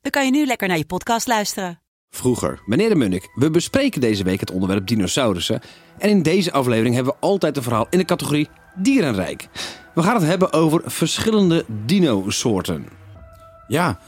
dan kan je nu lekker naar je podcast luisteren. Vroeger. Meneer de Munnik, we bespreken deze week het onderwerp dinosaurussen. En in deze aflevering hebben we altijd een verhaal in de categorie dierenrijk. We gaan het hebben over verschillende dinosoorten. Ja.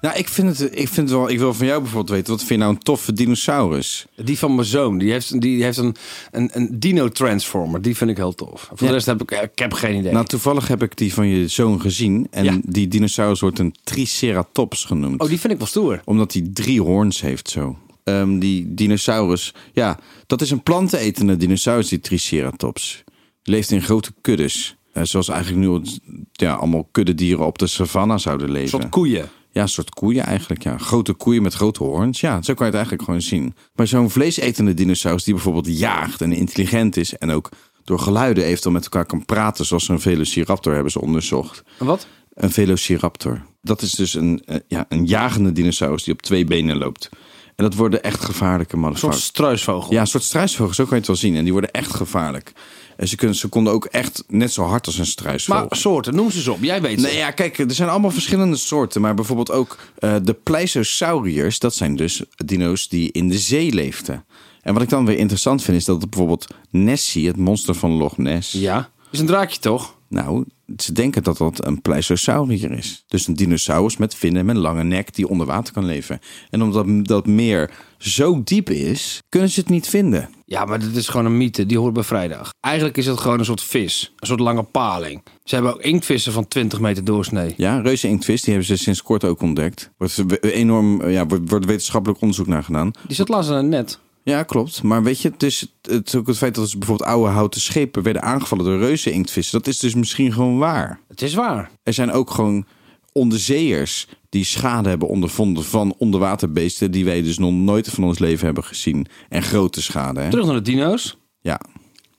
Nou, ik vind het, ik vind het wel. Ik wil van jou bijvoorbeeld weten. Wat vind je nou een toffe dinosaurus? Die van mijn zoon, die heeft, die heeft een, een, een dino-transformer. Die vind ik heel tof. Voor de Ja. rest heb ik, eh, ik heb geen idee. Nou, toevallig heb ik die van je zoon gezien. En Ja. die dinosaurus wordt een Triceratops genoemd. oh, die vind ik wel stoer. Omdat hij drie hoorns heeft zo. Ehm, die dinosaurus. Ja, dat is een plantenetende dinosaurus, die Triceratops. Die leeft in grote kuddes. Eh, zoals eigenlijk nu het- ja, allemaal kuddedieren op de savanna zouden Een leven. soort koeien. Ja, een soort koeien eigenlijk. Ja. Grote koeien met grote hoorns. Ja, zo kan je het eigenlijk gewoon zien. Maar zo'n vleesetende dinosaurus die bijvoorbeeld jaagt en intelligent is... en ook door geluiden eventueel met elkaar kan praten... zoals een velociraptor hebben ze onderzocht. En wat? Een velociraptor. Dat is dus een, eh, ja, een jagende dinosaurus die op twee benen loopt. En dat worden echt gevaarlijke Een soort motherfuckers. struisvogel. Ja, een soort struisvogel, zo kan je het wel zien. En die worden echt gevaarlijk. En ze, kunnen, ze konden ook echt net zo hard als een struisvogel. Maar soorten, noem ze eens op. Jij weet ze. Nee, ja, kijk, er zijn allemaal verschillende soorten. Maar bijvoorbeeld ook eh, de pleisosauriërs. Dat zijn dus dino's die in de zee leefden. En wat ik dan weer interessant vind, is dat bijvoorbeeld Nessie, het monster van Loch Ness... Ja. Is een draakje toch? Nou, ze denken dat dat een pleisosaurier is. Dus een dinosaurus met vinnen, met een lange nek, die onder water kan leven. En omdat dat meer zo diep is, kunnen ze het niet vinden. Ja, maar dit is gewoon een mythe. Die hoort bij vrijdag. Eigenlijk is het gewoon een soort vis. Een soort lange paling. Ze hebben ook inktvissen van 20 meter doorsnee. Ja, reuze inktvis, die hebben ze sinds kort ook ontdekt. Wordt we- enorm, ja, wordt wordt wetenschappelijk onderzoek naar gedaan. Die zat laatst aan het net. Ja, klopt. Maar weet je, het is, het is ook het feit dat ze bijvoorbeeld oude houten schepen werden aangevallen door reuze inktvissen. Dat is dus misschien gewoon waar. Het is waar. Er zijn ook gewoon onderzeeërs die schade hebben ondervonden van onderwaterbeesten die wij dus nog nooit van ons leven hebben gezien. En grote schade, hè? Terug naar de dino's. Ja,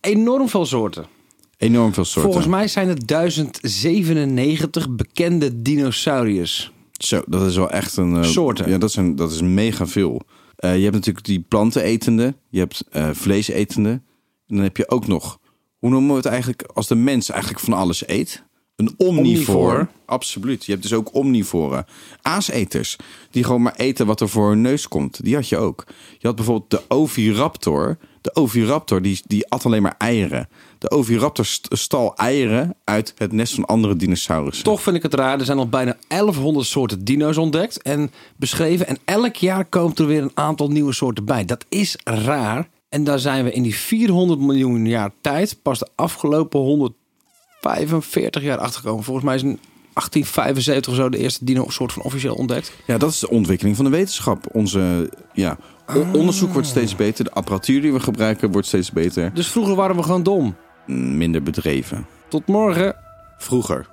Enorm veel soorten. enorm veel soorten. Volgens mij zijn er 1097 bekende dinosauriërs. Zo, dat is wel echt een... eh, Soorten. Ja, dat, zijn, dat is mega veel. Eh, je hebt natuurlijk die plantenetende, je hebt eh vleesetende. En dan heb je ook nog, hoe noemen we het eigenlijk, als de mens eigenlijk van alles eet? Een omnivoor. Omnivoor. Absoluut. Je hebt dus ook omnivoren. Aaseters, die gewoon maar eten wat er voor hun neus komt. Die had je ook. Je had bijvoorbeeld de oviraptor. De oviraptor, die, die at alleen maar eieren. De oviraptor st- stal eieren uit het nest van andere dinosaurussen. Toch vind ik het raar. Er zijn al bijna 1100 soorten dino's ontdekt en beschreven. En elk jaar komt er weer een aantal nieuwe soorten bij. Dat is raar. En daar zijn we in die 400 miljoen jaar tijd pas de afgelopen 145 jaar achtergekomen. Volgens mij is in 1875 of zo de eerste dino-soort van officieel ontdekt. Ja, dat is de ontwikkeling van de wetenschap. Onze ja, o- onderzoek wordt steeds beter. De apparatuur die we gebruiken wordt steeds beter. Dus vroeger waren we gewoon dom. Mm, Minder bedreven. Tot morgen. Vroeger.